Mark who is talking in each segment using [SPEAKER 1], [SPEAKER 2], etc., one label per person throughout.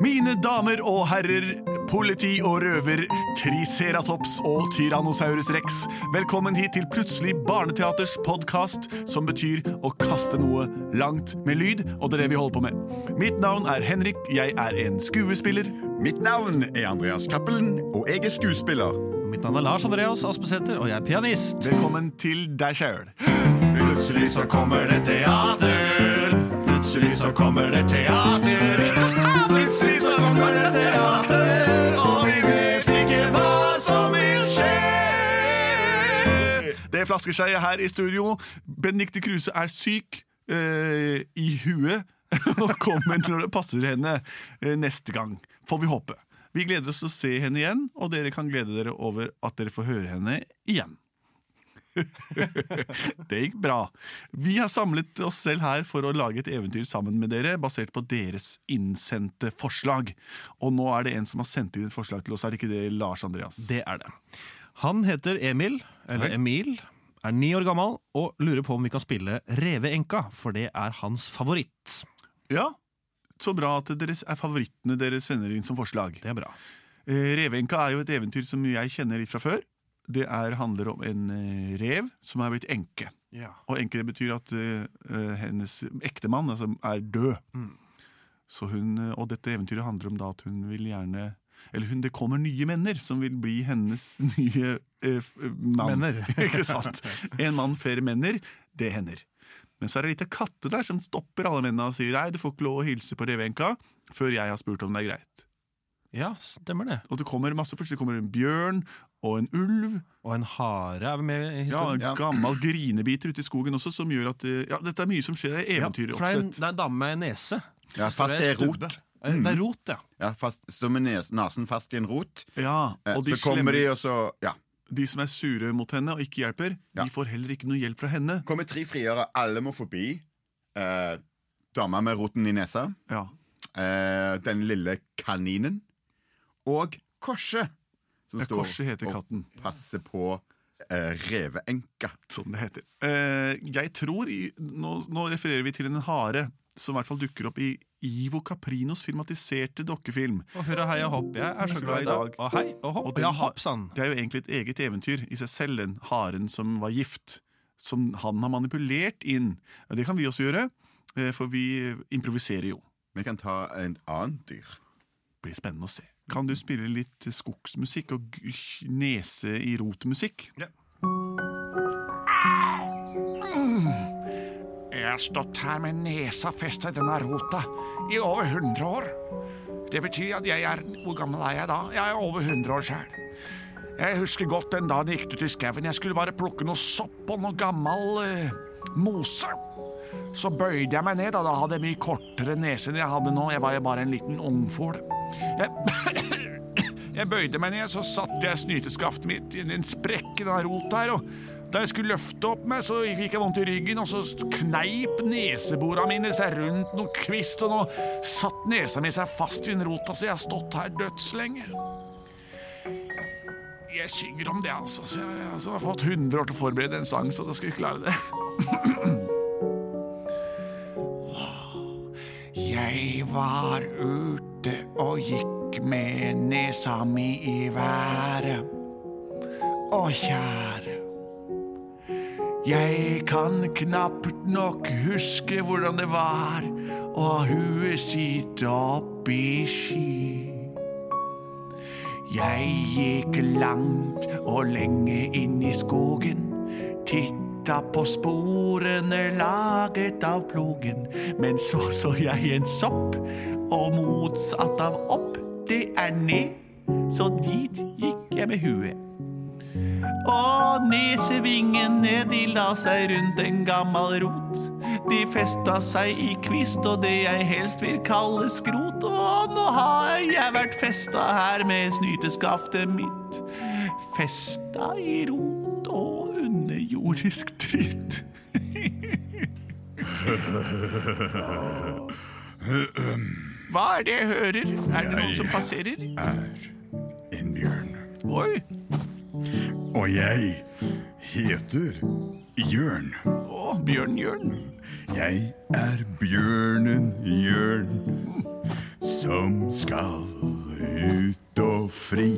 [SPEAKER 1] Mine damer og herrer, politi og røver, Triceratops og Tyrannosaurus rex. Velkommen hit til Plutselig barneteaters podkast, som betyr å kaste noe langt med lyd, og det er det vi holder på med. Mitt navn er Henrik, jeg er en skuespiller.
[SPEAKER 2] Mitt navn er Andreas Cappelen, og jeg er skuespiller.
[SPEAKER 3] Mitt navn er Lars Andreas Aspesæter, og jeg er pianist.
[SPEAKER 1] Velkommen til deg sjøl.
[SPEAKER 2] Plutselig så kommer det teater. Plutselig så kommer det teater. Plutselig så kommer det teater, og vi vet ikke hva som vil skje.
[SPEAKER 1] Det er flaskeskeiet her i studio. Benedicte Kruse er syk eh, i huet og kommer når det passer henne eh, neste gang. Får vi håpe. Vi gleder oss til å se henne igjen, og dere kan glede dere over at dere får høre henne igjen. det gikk bra. Vi har samlet oss selv her for å lage et eventyr sammen med dere, basert på deres innsendte forslag. Og nå er det en som har sendt inn et forslag til oss, er det ikke det, Lars Andreas?
[SPEAKER 3] Det er det. Han heter Emil, eller
[SPEAKER 1] Hei.
[SPEAKER 3] Emil, er ni år gammel og lurer på om vi kan spille Reveenka, for det er hans favoritt.
[SPEAKER 1] Ja, så bra at det er favorittene dere sender inn som forslag.
[SPEAKER 3] Det er bra.
[SPEAKER 1] Eh, Revenka er jo et eventyr som jeg kjenner litt fra før. Det er, handler om en eh, rev som er blitt enke. Og enke det betyr at eh, eh, hennes ektemann altså, er død.
[SPEAKER 3] Mm.
[SPEAKER 1] Så hun, eh, og dette eventyret handler om da at hun vil gjerne Eller hun, det kommer nye menner som vil bli hennes nye eh, f- mann.
[SPEAKER 3] Menner.
[SPEAKER 1] Ikke sant? En mann, flere menner. Det hender. Men så er det lite katte der som stopper alle mennene og sier nei, du får ikke lov å hilse på revenka før jeg har spurt om det er greit.
[SPEAKER 3] Ja, stemmer det.
[SPEAKER 1] Og det kommer masse forskjellig. Det kommer en bjørn og en ulv.
[SPEAKER 3] Og en hare er med i
[SPEAKER 1] Ja, en
[SPEAKER 3] historien.
[SPEAKER 2] Ja.
[SPEAKER 1] gammel grinebiter ute i skogen også, som gjør at eh, Ja, dette er mye som skjer i eventyret.
[SPEAKER 3] for det er en,
[SPEAKER 1] oppsett.
[SPEAKER 3] det er en dame med nese.
[SPEAKER 2] Ja, fast
[SPEAKER 3] Det er
[SPEAKER 2] det er rot.
[SPEAKER 3] stubbe. Eh, Det er rot, ja.
[SPEAKER 2] Ja, fast, står med nes- nesen fast i en rot.
[SPEAKER 1] ja,
[SPEAKER 2] Eh,
[SPEAKER 1] og de,
[SPEAKER 2] så kommer
[SPEAKER 1] slemme,
[SPEAKER 2] de, og så Ja.
[SPEAKER 1] de som er sure mot henne og ikke hjelper,
[SPEAKER 2] Ja.
[SPEAKER 1] de får heller ikke noe hjelp fra henne.
[SPEAKER 2] kommer tre frigjøre. Alle må forbi. Eh, Dama med roten i nesa.
[SPEAKER 1] Ja.
[SPEAKER 2] Eh, den lille kaninen. Og korset. Som
[SPEAKER 1] Ja, Korset heter
[SPEAKER 2] og
[SPEAKER 1] katten.
[SPEAKER 2] passer på eh, reveenka.
[SPEAKER 1] Som det heter. Eh, jeg tror i, nå, nå refererer vi til en hare som i hvert fall dukker opp i Ivo Caprinos filmatiserte dokkefilm.
[SPEAKER 3] Og hurra, hei og hopp. Jeg er så glad i dag. Og hei og
[SPEAKER 1] Og
[SPEAKER 3] hopp.
[SPEAKER 1] den
[SPEAKER 3] Ja,
[SPEAKER 1] har-
[SPEAKER 3] hopp, sa han.
[SPEAKER 1] Det er jo egentlig et eget eventyr i seg selv, den haren som var gift. Som han har manipulert inn. Det kan vi også gjøre, eh, for vi improviserer jo.
[SPEAKER 2] Vi kan ta en annet dyr.
[SPEAKER 1] Det blir spennende å se. Kan du spille litt skogsmusikk og g- nese i rot-musikk?
[SPEAKER 3] Ja.
[SPEAKER 1] Jeg har stått her med nesa festa i denne rota i over 100 år. Det betyr at jeg er Hvor gammel er jeg da? Jeg er over 100 år sjøl. Jeg husker godt den dagen jeg gikk ut i skauen. Jeg skulle bare plukke noe sopp og noe gammel eh, mose. Så bøyde jeg meg ned, og da hadde jeg mye kortere nese enn jeg hadde nå. Jeg var jo bare en liten ungfol. Jeg, jeg bøyde meg ned, så satte jeg snyteskaftet mitt inn i en sprekk i denne rota her, og da jeg skulle løfte opp meg, så fikk jeg vondt i ryggen, og så kneip neseborene mine seg rundt noen kvist, og nå satt nesa mi seg fast i en rota, så jeg har stått her dødslenge. Jeg synger om det, altså, så jeg, altså, jeg har fått 100 år til å forberede en sang, så da skal vi klare det. Jeg var ute og gikk med nesa mi i været. Å, kjære. Jeg kan knapt nok huske hvordan det var å ha huet sitt oppi sky. Jeg gikk langt og lenge inn i skogen. Titta på sporene laget av plogen. Men så så jeg en sopp, og motsatt av opp, det er ned. Så dit gikk jeg med huet. Og nesevingene de la seg rundt en gammel rot. de festa seg i kvist og det jeg helst vil kalle skrot. Og nå har jeg vært festa her med snyteskaftet mitt. Festa i rot og underjordisk dritt. Hva er det jeg hører? Er det noen som passerer?
[SPEAKER 4] En bjørn.
[SPEAKER 1] Oi,
[SPEAKER 4] Og jeg heter Jørn.
[SPEAKER 1] å, Bjørn Jørn.
[SPEAKER 4] Jeg er bjørnen Jørn, som skal ut og fri.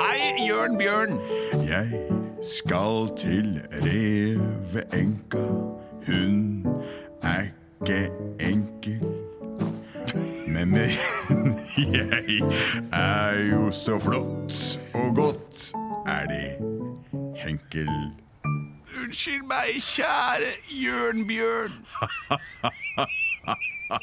[SPEAKER 1] Hei, Jørn Bjørn.
[SPEAKER 4] Jeg skal til reveenka. Hun er ikke enkel. Men, men jeg er jo så flott og godt er det Henkel.
[SPEAKER 1] Unnskyld meg, kjære Jørnbjørn.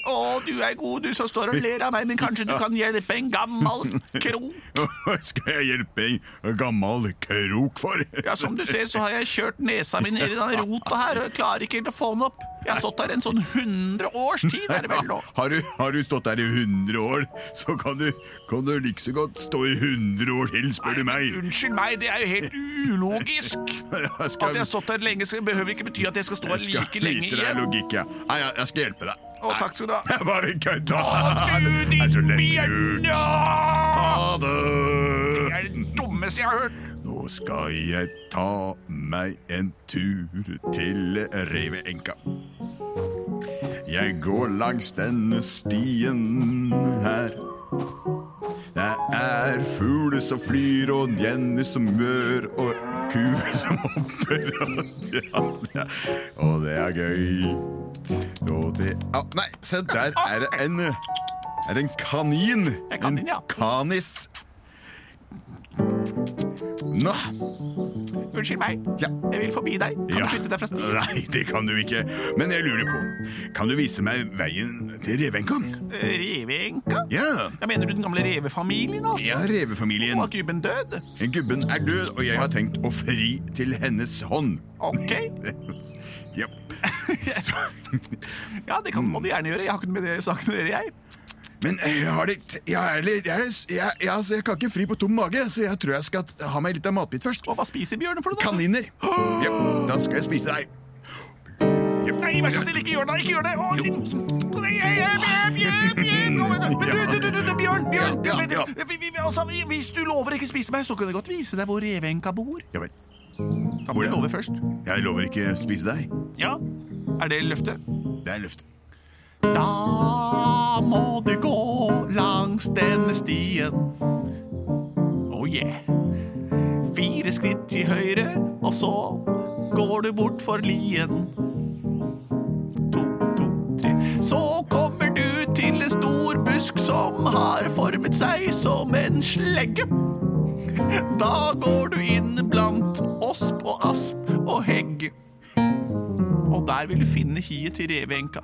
[SPEAKER 1] Å, du er god, du som står og ler av meg, men kanskje du kan hjelpe en gammel krok?
[SPEAKER 4] Hva skal jeg hjelpe en gammel krok for?
[SPEAKER 1] Ja, Som du ser, så har jeg kjørt nesa mi ned i den rota her, og jeg klarer ikke helt å få den opp. Jeg har stått her en sånn 100 års tid, er det vel nå?
[SPEAKER 4] Har du, har du stått der i 100 år, så kan du, kan du like så godt stå i 100 år til, spør du meg.
[SPEAKER 1] Unnskyld meg, det er jo helt ulogisk.
[SPEAKER 4] Jeg
[SPEAKER 1] At jeg har stått her lenge, skal- behøver ikke bety at jeg skal stå her
[SPEAKER 4] jeg skal
[SPEAKER 1] like lenge
[SPEAKER 4] vise deg
[SPEAKER 1] igjen.
[SPEAKER 4] logikk, ja. Nei, jeg, jeg skal hjelpe deg.
[SPEAKER 1] Å, takk skal du ha.
[SPEAKER 4] Jeg bare kødda.
[SPEAKER 1] Du,
[SPEAKER 4] Det er så
[SPEAKER 1] din
[SPEAKER 4] lettlurt.
[SPEAKER 1] bjørn!
[SPEAKER 4] Ha det.
[SPEAKER 1] Det er det dummeste jeg har hørt.
[SPEAKER 4] Nå skal jeg ta meg en tur til Reveenka. Jeg går langs denne stien her. Det er fugler som flyr, og jenner som mør, og kuer som hopper. Og, ja, ja. og det er gøy. Og det ah, Nei, se der er det en, er det en kanin.
[SPEAKER 1] En kanin, ja.
[SPEAKER 4] En kanis. Nå.
[SPEAKER 1] Unnskyld meg.
[SPEAKER 4] Ja.
[SPEAKER 1] Jeg vil forbi deg. Kan
[SPEAKER 4] Ja.
[SPEAKER 1] du flytte deg fra stien?
[SPEAKER 4] Nei, det kan du ikke. Men jeg lurer på, kan du vise meg veien til Revenka?
[SPEAKER 1] Eh, Reveenka?
[SPEAKER 4] Ja.
[SPEAKER 1] Ja, mener du den gamle revefamilien, altså?
[SPEAKER 4] Ja, revefamilien.
[SPEAKER 1] Og at gubben død?
[SPEAKER 4] Gubben er død, og jeg har tenkt å fri til hennes hånd.
[SPEAKER 1] Ok.
[SPEAKER 4] Ja. Så.
[SPEAKER 1] Ja, det
[SPEAKER 4] Mm.
[SPEAKER 1] kan, må du gjerne gjøre. Jeg har ikke noe med det saken å gjøre, jeg.
[SPEAKER 4] Men jeg har litt jeg, er litt- jeg, er- jeg, jeg, altså, jeg kan ikke fri på tom mage, så jeg tror jeg skal ha meg litt av matbit først.
[SPEAKER 1] Og hva spiser bjørnen for noe, da?
[SPEAKER 4] Kaniner. Ja, da skal jeg spise deg. Ja.
[SPEAKER 1] Nei, vær så snill, ikke gjør det! Ikke gjør det! Å,
[SPEAKER 4] Jo.
[SPEAKER 1] din- Nei, jeg- jeg- jeg- jeg- jeg- Nå, men- men du- du- du- du- Bjørn, Bjørn!
[SPEAKER 4] Ja, ja, ja.
[SPEAKER 1] men- vi- vi- altså, vi- Hvis du lover ikke spise meg, så kan jeg godt vise deg hvor reveenka bor.
[SPEAKER 4] Ja vel.
[SPEAKER 1] Da må du
[SPEAKER 4] Hvordan?
[SPEAKER 1] love først.
[SPEAKER 4] Jeg lover ikke å spise deg.
[SPEAKER 1] Ja. Er det løftet?
[SPEAKER 4] Det er løftet.
[SPEAKER 1] Da må du gå langs denne stien. Oh yeah. Fire skritt til høyre, og så går du bort for lien. To, to, tre. Så kommer du til en stor busk som har formet seg som en slegge. Da går du inn blant osp og asp og hegg. Og der vil du finne hiet til reveenka.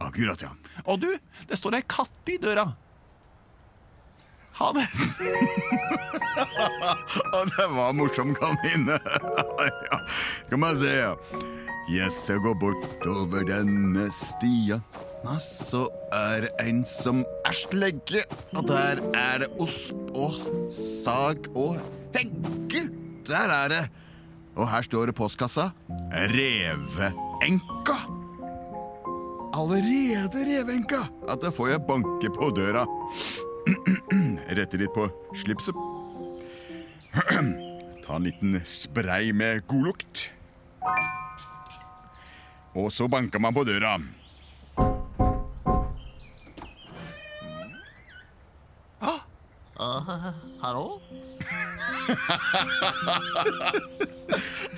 [SPEAKER 4] Akkurat, ja.
[SPEAKER 1] Og du, det står ei katt i døra. Ha det.
[SPEAKER 4] Ja, det var morsom kanine. ja, skal man se. Yes, jeg går bortover denne stia. Ja, Så er det en som er slegge, og der er det osp og sag og hegge. Der er det. Og her står det postkassa. Reveenka. Allerede reveenka! At da får jeg banke på døra. Rette litt på slipset. Ta en liten spray med godlukt. Og så banker man på døra.
[SPEAKER 1] Hallo?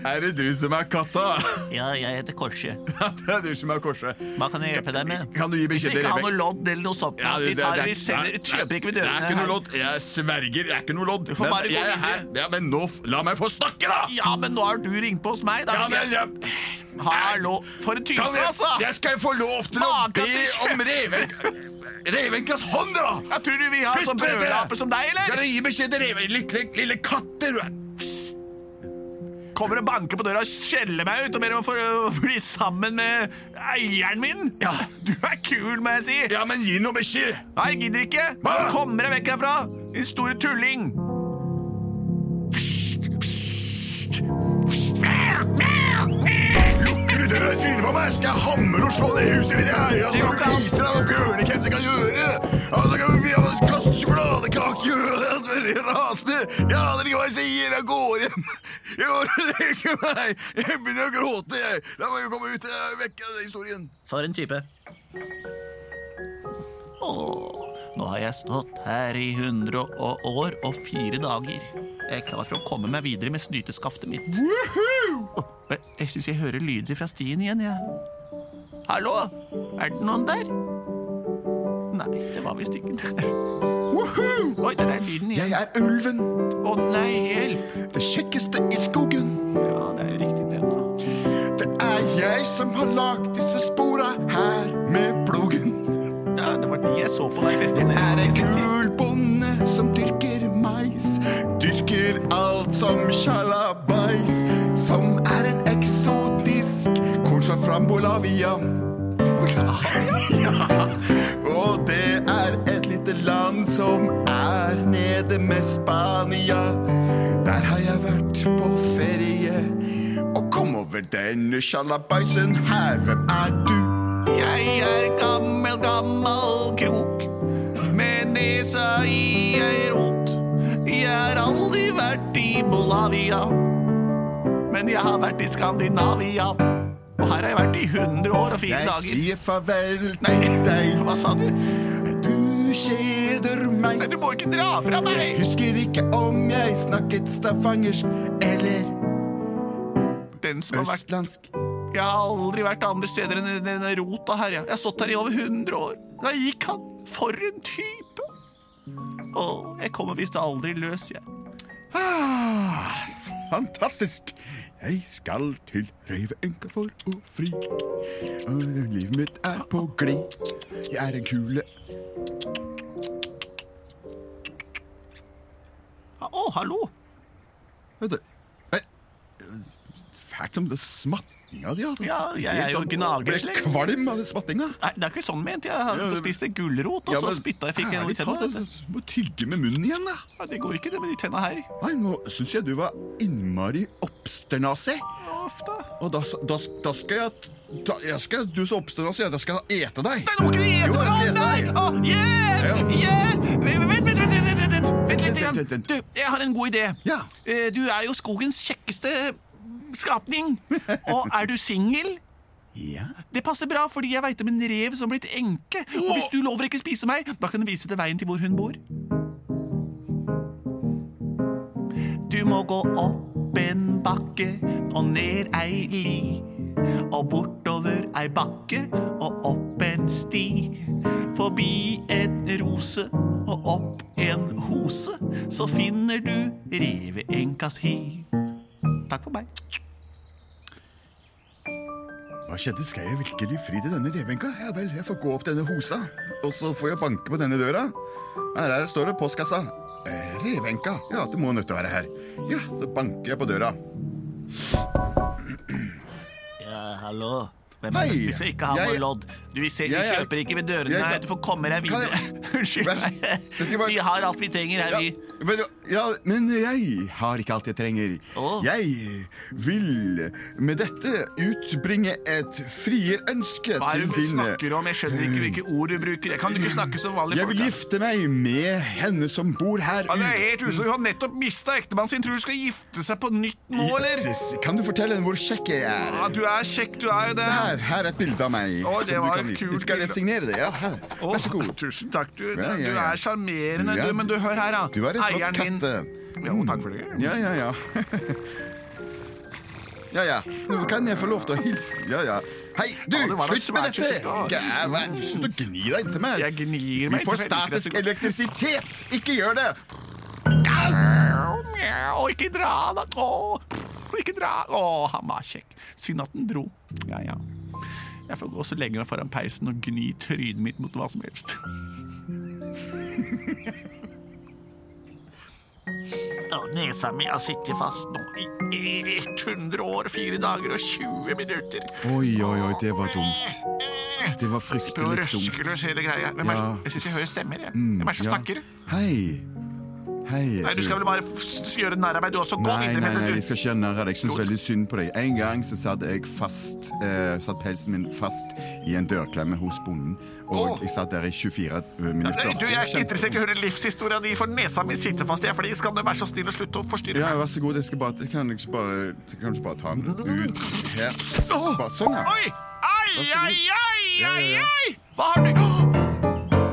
[SPEAKER 4] Er det du som er katta?
[SPEAKER 1] Ja, jeg heter Korse.
[SPEAKER 4] Det er du som er korset.
[SPEAKER 1] Hva kan jeg hjelpe deg med?
[SPEAKER 4] Kan du gi
[SPEAKER 1] Hvis
[SPEAKER 4] beskjed
[SPEAKER 1] jeg
[SPEAKER 4] til
[SPEAKER 1] ikke har
[SPEAKER 4] Rebekka?
[SPEAKER 1] noe lodd eller noe sånt,
[SPEAKER 4] Ja,
[SPEAKER 1] vi
[SPEAKER 4] det-
[SPEAKER 1] tar,
[SPEAKER 4] det-
[SPEAKER 1] vi
[SPEAKER 4] det-
[SPEAKER 1] selger,
[SPEAKER 4] nei,
[SPEAKER 1] kjøper ikke ved
[SPEAKER 4] Det er
[SPEAKER 1] dørene
[SPEAKER 4] ikke
[SPEAKER 1] her.
[SPEAKER 4] noe lodd. Jeg sverger, det er ikke noe lodd.
[SPEAKER 1] får bare
[SPEAKER 4] Men
[SPEAKER 1] gå
[SPEAKER 4] jeg er her. Ja, men nå f- La meg få snakke, da!
[SPEAKER 1] Ja, men nå har du ringt på hos meg, da.
[SPEAKER 4] Ja, men ja.
[SPEAKER 1] Hallo. For en type,
[SPEAKER 4] Kan jeg,
[SPEAKER 1] altså!
[SPEAKER 4] jeg skal få lov til å
[SPEAKER 1] Maken
[SPEAKER 4] be
[SPEAKER 1] til kjeft.
[SPEAKER 4] om Revenka- Revenkas hånd, da!
[SPEAKER 1] Jeg tror du vil ha en sånn
[SPEAKER 4] Slutt med det!
[SPEAKER 1] brølape som deg,
[SPEAKER 4] Skal
[SPEAKER 1] eller?
[SPEAKER 4] du gi beskjed til Reven? Lille, lille katter, du er.
[SPEAKER 5] Kommer og banker på døra og skjeller meg ut og ber om å
[SPEAKER 1] øh,
[SPEAKER 5] få bli sammen med eieren min.
[SPEAKER 4] Ja.
[SPEAKER 5] Du er kul, må jeg si.
[SPEAKER 4] Ja, men gi noe beskjed!
[SPEAKER 5] Nei, jeg gidder ikke.
[SPEAKER 4] Hva?
[SPEAKER 5] Kommer deg vekk herfra, din store tulling. Psst, psst, psst. Mæ, mæ, mæ.
[SPEAKER 4] Lukker du døra i trynet på meg, skal jeg hamre og slå ned huset ditt! Jeg Jeg
[SPEAKER 5] Det
[SPEAKER 4] skal
[SPEAKER 5] går ikke an.
[SPEAKER 4] vise deg hva bjørnekremser kan gjøre! Og så kan vi kaste sjokoladekake og alt mulig rasende! Jeg aner ikke hva jeg sier! Jeg går hjem! Jeg orker ikke meg! Jeg begynner å gråte, jeg! La meg jo komme ut! Jeg er vekk av den historien!
[SPEAKER 1] For en type. Åh, nå har jeg stått her i 100 og år og fire dager. Jeg er klar for å komme meg videre med snyteskaftet mitt. Åh, jeg- jeg syns jeg hører lyder fra stien igjen, jeg. Hallo? Er det noen der? Nei, det var visst ikke der. Oi, der er lyden igjen.
[SPEAKER 4] Jeg er ulven!
[SPEAKER 1] Å nei, hjelp!
[SPEAKER 4] Det kjekkeste i skogen!
[SPEAKER 1] Ja, det er jo riktig, det, da.
[SPEAKER 4] Det er jeg som har lagd disse spora her med plogen.
[SPEAKER 1] Ja, det var de jeg så på deg i festen.
[SPEAKER 4] Er en kul bonde som dyrker mais. Dyrker alt som sjalabais. Som er en eksotisk kornsvart fra Bolavia. Ja. Og det er et lite land som er nede med Spania. Der har jeg vært på ferie. Og kom over denne sjalabaisen her. Hvem er du?
[SPEAKER 1] Jeg er gammel, gammel krok Med nesa i ei rot Jeg har aldri vært i Bolavia Men jeg har vært i Skandinavia Og her har jeg vært i 100 år og fire
[SPEAKER 4] Jeg
[SPEAKER 1] dager
[SPEAKER 4] sier farvel til
[SPEAKER 1] Nei,
[SPEAKER 4] deg.
[SPEAKER 1] hva sa du?
[SPEAKER 4] Du kjeder meg.
[SPEAKER 1] Nei, du må ikke dra fra meg
[SPEAKER 4] Husker ikke om jeg snakket stafangersk eller
[SPEAKER 1] Den som har vært
[SPEAKER 4] østlandsk.
[SPEAKER 1] Jeg har aldri vært andre steder enn i denne rota her. Jeg Jeg har stått her i over 100 år. Der gikk han. For en type. Å, jeg kommer visst aldri løs, jeg.
[SPEAKER 4] Ah, fantastisk! Jeg skal til Røyveønka for å fri. Og livet mitt er på glid. Jeg er en kule
[SPEAKER 1] Å, hallo.
[SPEAKER 4] Vet du Nei, Fælt som det smattinga di hadde.
[SPEAKER 1] Ja, jeg er jo
[SPEAKER 4] Helt sånn-
[SPEAKER 1] gnagerslig.
[SPEAKER 4] Ble kvalm av det smattinga.
[SPEAKER 1] Nei, det er ikke sånn ment. Jeg hadde
[SPEAKER 4] Ja,
[SPEAKER 1] spist en gulrot, og
[SPEAKER 4] Ja,
[SPEAKER 1] så
[SPEAKER 4] men
[SPEAKER 1] spytta jeg fikk en i
[SPEAKER 4] ærlig talt,
[SPEAKER 1] tennene.
[SPEAKER 4] altså, Du må tygge med munnen igjen, da.
[SPEAKER 1] Ja, det går ikke, det med de tenna her.
[SPEAKER 4] Nei, nå syns jeg du var innmari oppsternasig.
[SPEAKER 1] Ja, Uff, da.
[SPEAKER 4] Og da, da, da skal jeg ta, jeg skal, Du som oppstår sier jeg da skal jeg ete deg.
[SPEAKER 1] Nei, nå må ikke de
[SPEAKER 4] Jo,
[SPEAKER 1] ete!
[SPEAKER 4] jeg skal
[SPEAKER 1] Å,
[SPEAKER 4] ete
[SPEAKER 1] nei!
[SPEAKER 4] deg.
[SPEAKER 1] Å, hjelp!
[SPEAKER 4] Ja.
[SPEAKER 1] Hjelp! Vent, vent, vent, vent, vent, vent, vent, vent litt.
[SPEAKER 4] Vent, vent,
[SPEAKER 1] Grann.
[SPEAKER 4] vent,
[SPEAKER 1] Du,
[SPEAKER 4] vent.
[SPEAKER 1] jeg har en god idé.
[SPEAKER 4] Ja.
[SPEAKER 1] Eh, Du er jo skogens kjekkeste skapning. Og er du singel?
[SPEAKER 4] Ja.
[SPEAKER 1] Det passer bra, fordi jeg veit om en rev som har blitt enke. Og hvis du lover å ikke spise meg, da kan du vise deg veien til hvor hun bor. Du må gå opp en bakke og ned ei li. Og bortover ei bakke og opp en sti. Forbi en rose og opp en hose, så finner du reveenkas hi. Takk for meg.
[SPEAKER 4] Hva skjedde? Skal jeg virkelig fri til denne revenka? Ja vel, jeg får gå opp denne hosa, og så får jeg banke på denne døra. Her er, står det postkassa. Eh, revenka. Ja, det må nødt til å være her. Ja, så banker jeg på døra.
[SPEAKER 1] Ja, hallo. Hvem
[SPEAKER 4] Hei.
[SPEAKER 1] er det? Hvis jeg ikke har
[SPEAKER 4] Jeg-
[SPEAKER 1] noe lodd. Du, vi, ser,
[SPEAKER 4] Jeg
[SPEAKER 1] vi
[SPEAKER 4] er-
[SPEAKER 1] kjøper ikke ved dørene
[SPEAKER 4] Jeg kan-
[SPEAKER 1] her. Du får komme deg
[SPEAKER 4] Kan jeg-
[SPEAKER 1] videre. Unnskyld
[SPEAKER 4] Vær
[SPEAKER 1] meg.
[SPEAKER 4] så- Jeg skal bare-
[SPEAKER 1] Vi har alt vi trenger her,
[SPEAKER 4] Ja,
[SPEAKER 1] vi.
[SPEAKER 4] men, ja, men jeg har ikke alt jeg trenger.
[SPEAKER 1] Åh.
[SPEAKER 4] Jeg vil med dette utbringe et frierønske
[SPEAKER 1] Hva er
[SPEAKER 4] til
[SPEAKER 1] det du
[SPEAKER 4] din eh,
[SPEAKER 1] snakker om? Jeg skjønner ikke hvilke ord du bruker. Jeg kan ikke snakke som vanlig
[SPEAKER 4] Jeg vil
[SPEAKER 1] folk.
[SPEAKER 4] gifte meg med henne som bor her
[SPEAKER 5] Han er
[SPEAKER 4] ute.
[SPEAKER 5] helt uså. Hun har nettopp mista ektemannen sin. Tror du skal gifte seg på nytt nå, eller? Ah,
[SPEAKER 4] Jesus, kan du fortelle henne hvor kjekk jeg er?
[SPEAKER 5] Ja, du er kjekk, du er jo det.
[SPEAKER 4] Se her, her er et bilde av meg.
[SPEAKER 5] Å, det
[SPEAKER 4] som du
[SPEAKER 5] var
[SPEAKER 4] kan
[SPEAKER 5] et
[SPEAKER 4] vise.
[SPEAKER 5] kult
[SPEAKER 4] Skal jeg
[SPEAKER 5] bilde.
[SPEAKER 4] signere det? Ja, her.
[SPEAKER 5] Å,
[SPEAKER 4] Vær så god.
[SPEAKER 5] Tusen takk, du.
[SPEAKER 4] Ja, ja,
[SPEAKER 5] Du
[SPEAKER 4] ja.
[SPEAKER 5] er sjarmerende,
[SPEAKER 4] Ja,
[SPEAKER 5] du. Men du, hør her, da.
[SPEAKER 4] Du er en flott eh.
[SPEAKER 5] Eieren
[SPEAKER 4] katte. Mm.
[SPEAKER 5] din- Ja, og takk for det.
[SPEAKER 4] Ja, ja, ja. Ja, ja. Nå kan jeg få lov til å hilse. Ja, ja. Hei, du!
[SPEAKER 5] Ja, det var da
[SPEAKER 4] slutt med
[SPEAKER 5] svært kjekt,
[SPEAKER 4] dette!
[SPEAKER 5] ja.
[SPEAKER 4] Gæren, slutt å gni deg inntil meg.
[SPEAKER 5] Jeg gnir meg
[SPEAKER 4] Vi får
[SPEAKER 5] inntil meg, det er så
[SPEAKER 4] statisk
[SPEAKER 5] godt.
[SPEAKER 4] elektrisitet! Ikke gjør det!
[SPEAKER 5] Mjau, mjau, ikke dra, da. Å, pff, ikke dra. Å, han var kjekk. Synd at den dro. Ja, ja. Jeg får gå så lenge meg foran peisen og gni trynet mitt mot hva som helst.
[SPEAKER 1] Å, Nesa mi har sittet fast nå i 100 år, 4 dager og 20 minutter.
[SPEAKER 4] Oi, oi, oi, det var dumt. Det
[SPEAKER 1] Prøv å
[SPEAKER 4] var fryktelig
[SPEAKER 1] røske
[SPEAKER 4] dumt.
[SPEAKER 1] løs hele greia. Hvem er,
[SPEAKER 4] Ja. Mm,
[SPEAKER 1] Jeg syns jeg hører stemmer. Jeg. Hvem er det som
[SPEAKER 4] Ja.
[SPEAKER 1] snakker?
[SPEAKER 4] Hei. Hei. er
[SPEAKER 1] Nei, du skal vel bare f- gjøre narr av meg, du også. Gå
[SPEAKER 4] Nei,
[SPEAKER 1] videre
[SPEAKER 4] nei,
[SPEAKER 1] med
[SPEAKER 4] nei,
[SPEAKER 1] det,
[SPEAKER 4] jeg
[SPEAKER 1] du.
[SPEAKER 4] skal ikke gjøre narr av deg. Jeg syns veldig synd på deg. En gang så satt jeg fast eh, Satt pelsen min fast i en dørklemme hos bonden. Og
[SPEAKER 1] Åh.
[SPEAKER 4] jeg satt der i 24 minutter.
[SPEAKER 1] Nei, Du, Jeg er ikke
[SPEAKER 4] Kjempe-
[SPEAKER 1] interessert i å høre livshistoria di, for nesa mi sitter fast. Jeg er flis. Kan du være så snill å slutte å forstyrre
[SPEAKER 4] Ja,
[SPEAKER 1] meg?
[SPEAKER 4] vær så god. Jeg skal bare, jeg kan ikke bare, jeg kan ikke bare ta den ut her.
[SPEAKER 1] Åh!
[SPEAKER 4] Bare sånn, ja.
[SPEAKER 1] Oi! Ai,
[SPEAKER 4] så god.
[SPEAKER 1] ai, ai,
[SPEAKER 4] Ja,
[SPEAKER 1] ai,
[SPEAKER 4] ja, ja.
[SPEAKER 1] ai! Hva har du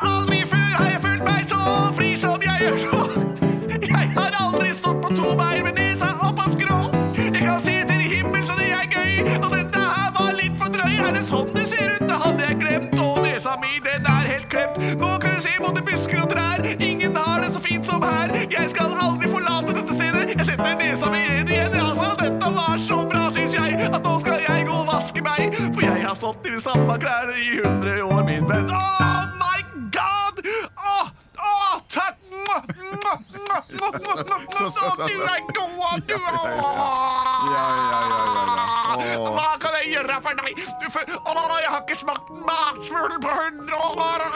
[SPEAKER 1] Aldri før har jeg følt meg så fri som jeg gjør nå. Jeg har aldri stått på to bein med nesa opp av skrå. Jeg kan se til himmel så det er gøy, og dette her var litt for drøy. Er det sånn det ser ut? Det hadde jeg glemt, og nesa mi, den er helt klemt. Nå kan jeg se både busker og trær, ingen har det så fint som her. Jeg skal aldri forlate dette stedet, jeg setter nesa mi ned igjen, altså. Dette var så bra, syns jeg, at nå skal jeg gå og vaske meg, for jeg har stått i de samme klærne i 100 år, min venn. Oh my god! Åh, åh, takk! Mwah, mwah, mwah, mwah, mwah, mwah.
[SPEAKER 4] Så, så, så, så.
[SPEAKER 1] Nå, du er god, du er-
[SPEAKER 4] Ja, ja, ja, ja, ja. Åh.
[SPEAKER 1] Hva kan jeg gjøre for deg? Du, for, å, nå, nå, jeg har ikke smakt matsmul på 100 år!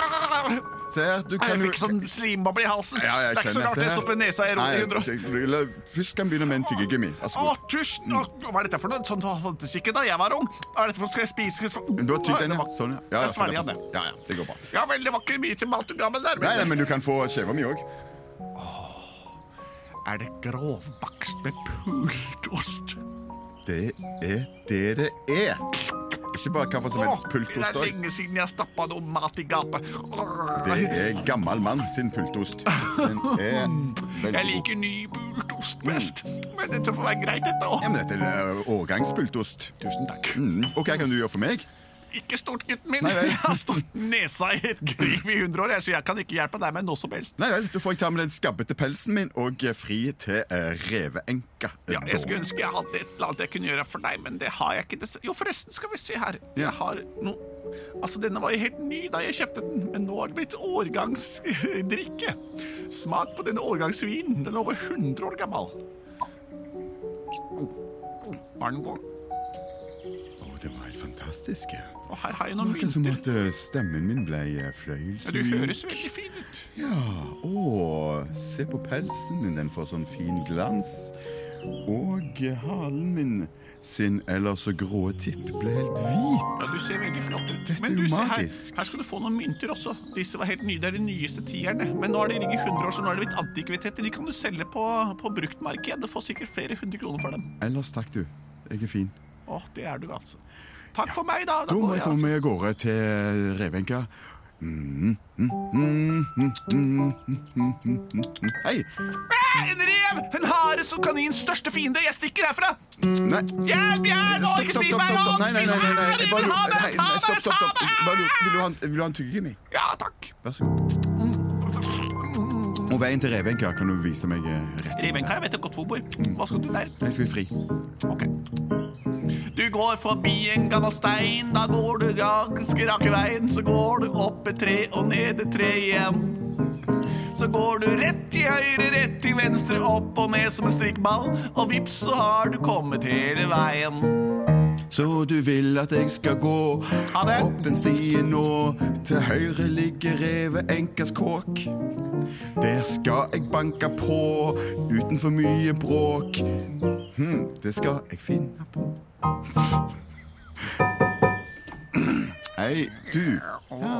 [SPEAKER 4] Se her, du
[SPEAKER 1] Nei,
[SPEAKER 4] kan
[SPEAKER 1] Jeg
[SPEAKER 4] jo
[SPEAKER 1] fikk sånn slimboble i halsen.
[SPEAKER 4] Ja, jeg
[SPEAKER 1] det er ikke så
[SPEAKER 4] skjønner.
[SPEAKER 1] rart
[SPEAKER 4] Se
[SPEAKER 1] jeg
[SPEAKER 4] her.
[SPEAKER 1] satt med nesa i rot i 100 år.
[SPEAKER 4] Nei, la- Først kan vi begynne med en tyggegummi. Vær så
[SPEAKER 1] Å,
[SPEAKER 4] god.
[SPEAKER 1] tusen å, Hva er dette for noe? Sånn fantes ikke da jeg var ung. Hva er dette for skal jeg spise?
[SPEAKER 4] Du har tygd
[SPEAKER 1] Det
[SPEAKER 4] den, ja.
[SPEAKER 1] var-
[SPEAKER 4] Sånn, ja. ja.
[SPEAKER 1] Jeg
[SPEAKER 4] ja, sånn,
[SPEAKER 1] svelger
[SPEAKER 4] ja,
[SPEAKER 1] den.
[SPEAKER 4] ja, ja, det går bra.
[SPEAKER 1] Ja vel, det var ikke mye til mat og gammel der. men-
[SPEAKER 4] Nei, nei, men du kan få skjeva mi òg.
[SPEAKER 1] Er det grovbakst med pultost?
[SPEAKER 4] Det er det det er. Ikke bare hva som helst
[SPEAKER 1] Å, Det er
[SPEAKER 4] pultost òg.
[SPEAKER 1] lenge siden jeg stappa noe mat i gapet.
[SPEAKER 4] Det er gammel mann sin pultost. Den er veldig
[SPEAKER 1] Jeg
[SPEAKER 4] god.
[SPEAKER 1] liker ny pultost
[SPEAKER 4] Mm.
[SPEAKER 1] best, men dette får være greit, dette
[SPEAKER 4] Ja,
[SPEAKER 1] òg.
[SPEAKER 4] men dette er eh, årgangspultost.
[SPEAKER 1] Tusen takk.
[SPEAKER 4] Mm. Og hva kan du gjøre for meg?
[SPEAKER 1] Ikke stort, gutten min.
[SPEAKER 4] Nei vel.
[SPEAKER 1] Jeg har stått nesa i et krig i 100 år, jeg, så jeg kan ikke hjelpe deg med noe som helst.
[SPEAKER 4] Nei vel, Da får jeg ta med den skabbete pelsen min og eh, fri til eh, reveenka.
[SPEAKER 1] Ja, jeg skulle ønske jeg hadde et eller annet jeg kunne gjøre for deg, men det har jeg ikke. dess- Jo, forresten, skal vi se her.
[SPEAKER 4] Ja.
[SPEAKER 1] Jeg har noe Altså, denne var jo helt ny da jeg kjøpte den, men nå har det blitt årgangsdrikke. Smak på denne årgangsvinen. Den er over 100 år gammel. Var den god?
[SPEAKER 4] Å, det var helt fantastisk. ja.
[SPEAKER 1] Og her har jeg noen
[SPEAKER 4] Akkurat som
[SPEAKER 1] mynter.
[SPEAKER 4] at eh, stemmen min ble eh, fløyelsmyk.
[SPEAKER 1] Ja, du høres veldig fin ut.
[SPEAKER 4] Ja, å, se på pelsen min, den får sånn fin glans. Og eh, halen min sin ellers så grå tipp ble helt
[SPEAKER 1] Ja,
[SPEAKER 4] hvit.
[SPEAKER 1] du ser veldig flott ut.
[SPEAKER 4] Dette
[SPEAKER 1] Men
[SPEAKER 4] er jo
[SPEAKER 1] du, se her,
[SPEAKER 4] magisk.
[SPEAKER 1] her skal du få noen mynter også. Disse var helt nye. Det er de nyeste tierne. Men nå har de ligget i 100 år, så nå er det blitt antikviteter. De kan du selge på, på bruktmarkedet. Får sikkert flere hundre kroner for dem.
[SPEAKER 4] Ellers takk, du. Jeg er fin.
[SPEAKER 1] Å, det er du, altså. Takk for meg, da.
[SPEAKER 4] Da må jeg komme
[SPEAKER 1] altså.
[SPEAKER 4] meg av gårde til eh, Revenka. Mm, mm. Hei!
[SPEAKER 1] Æ, En rev! En hare som kanins største fiende. Jeg stikker herfra!
[SPEAKER 4] Nei.
[SPEAKER 1] Hjelp, hjelp! Å, ikke spis meg! Å,
[SPEAKER 4] Nei, nei,
[SPEAKER 1] spis
[SPEAKER 4] nei,
[SPEAKER 1] meg!
[SPEAKER 4] nei, nei.
[SPEAKER 1] Jeg
[SPEAKER 4] Jeg
[SPEAKER 1] vil
[SPEAKER 4] bare-
[SPEAKER 1] ha
[SPEAKER 4] nei,
[SPEAKER 1] meg! Ta
[SPEAKER 4] nei, Stopp,
[SPEAKER 1] meg!
[SPEAKER 4] stopp,
[SPEAKER 1] Ta
[SPEAKER 4] stopp. Bare
[SPEAKER 1] meg!
[SPEAKER 4] lurer- Vil du ha en, vil du ha en tyggegummi?
[SPEAKER 1] Ja, takk.
[SPEAKER 4] Vær så god. Og veien til Revenka kan du vise meg eh, rett.
[SPEAKER 1] Revenka, jeg vet jo godt hvor bor. Hva skal du der?
[SPEAKER 4] Jeg skal fri.
[SPEAKER 1] Ok. Du går forbi en gammel stein, da går du ganske rake veien. Så går du opp et tre og ned et tre igjen. Så går du rett til høyre, rett til venstre, opp og ned som en strikkball. Og vips, så har du kommet hele veien.
[SPEAKER 4] Så du vil at jeg skal gå
[SPEAKER 1] Ha det.
[SPEAKER 4] opp den stien nå. Til høyre ligger reveenkas kåk. Der skal jeg banke på uten for mye bråk. Hm, det skal jeg finne på. Hei, du. Ja,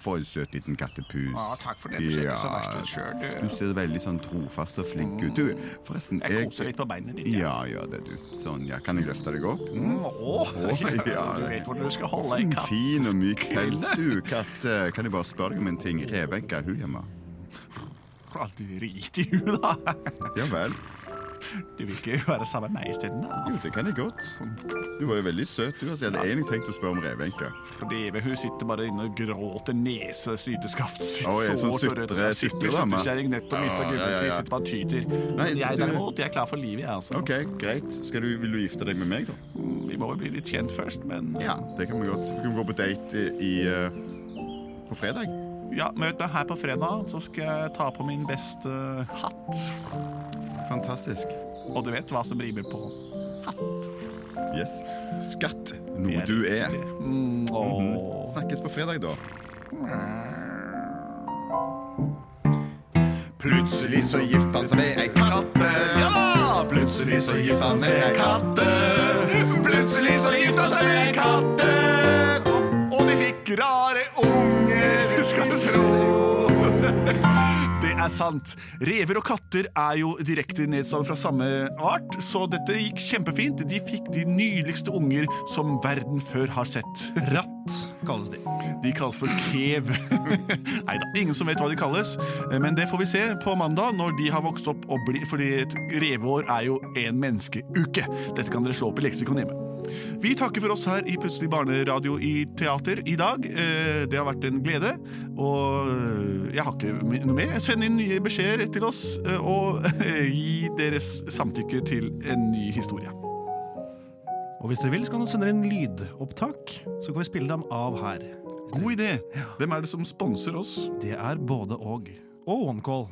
[SPEAKER 4] for en søt liten kattepus.
[SPEAKER 1] Ja, takk for det. Du ser ikke så verst ut sjøl, du.
[SPEAKER 4] Du ser veldig sånn trofast og flink ut. Du, forresten
[SPEAKER 1] Jeg koser litt på beina dine.
[SPEAKER 4] Ja, ja, det er du. Sånn, ja. Kan jeg løfte deg opp? Mm.
[SPEAKER 1] Å,
[SPEAKER 4] ja,
[SPEAKER 1] du vet hvor du skal holde en katt.
[SPEAKER 4] Sånn Fin og myk pels, du. Katt, eh, kan jeg bare spørre deg om en ting? Revenka, er hun hjemme?
[SPEAKER 1] Alltid rit i huet, da.
[SPEAKER 4] Ja vel.
[SPEAKER 1] Du vil ikke være sammen med meg isteden? da?
[SPEAKER 4] Jo, det kan jeg godt. Du var jo veldig søt, du. Altså, jeg hadde egentlig tenkt å spørre om Revenka.
[SPEAKER 1] Reve, hun sitter bare inne og gråter nese, syteskaft sitt
[SPEAKER 4] Oi, sånn sutre- sutredame.
[SPEAKER 1] Sutrekjerring nettopp mista
[SPEAKER 4] Ja,
[SPEAKER 1] gubben
[SPEAKER 4] ja, ja,
[SPEAKER 1] sin,
[SPEAKER 4] ja.
[SPEAKER 1] sitter bare og tyter.
[SPEAKER 4] Nei,
[SPEAKER 1] Men jeg
[SPEAKER 4] du-
[SPEAKER 1] derimot, jeg er klar for livet, jeg, altså.
[SPEAKER 4] OK, greit. Skal du, vil du gifte deg med meg, da?
[SPEAKER 1] Vi må vel bli litt kjent først, men
[SPEAKER 4] Ja, det kan vi godt. Vi kan gå på date i, i eh, på fredag.
[SPEAKER 1] Ja, møt meg her på fredag, så skal jeg ta på min beste hatt.
[SPEAKER 4] Fantastisk.
[SPEAKER 1] Og du vet hva som blir med på.
[SPEAKER 4] Yes. Skatt, noe du er.
[SPEAKER 1] Mm,
[SPEAKER 4] Mhm.
[SPEAKER 1] Åh.
[SPEAKER 4] Snakkes på fredag, da.
[SPEAKER 2] Plutselig så gifter han seg med ei katte. Plutselig så gifter han seg med ei katte. Plutselig så gifter han seg med ei katte.
[SPEAKER 1] Og de fikk rare unger, skal du tro. Det er sant. Rever og katter er jo direkte nedsatt fra samme art, så dette gikk kjempefint. De fikk de nyligste unger som verden før har sett.
[SPEAKER 3] Ratt kalles de.
[SPEAKER 1] De kalles for krev. Nei da, ingen som vet hva de kalles. Eh, Men det får vi se på mandag, når de har vokst opp og blir Fordi et reveår er jo en menneskeuke. Dette kan dere slå opp i leksikon hjemme. Vi takker for oss her i Plutselig barneradio i teater i dag. Eh, Det har vært en glede. Og eh, jeg har ikke my- noe mer. Send inn nye beskjeder til oss, eh, og gi deres samtykke til en ny historie.
[SPEAKER 3] Og hvis dere vil, så kan dere sende inn lydopptak, så kan vi spille dem av her.
[SPEAKER 1] God idé! Hvem er det som sponser oss?
[SPEAKER 3] Det er både og. Og OneCall.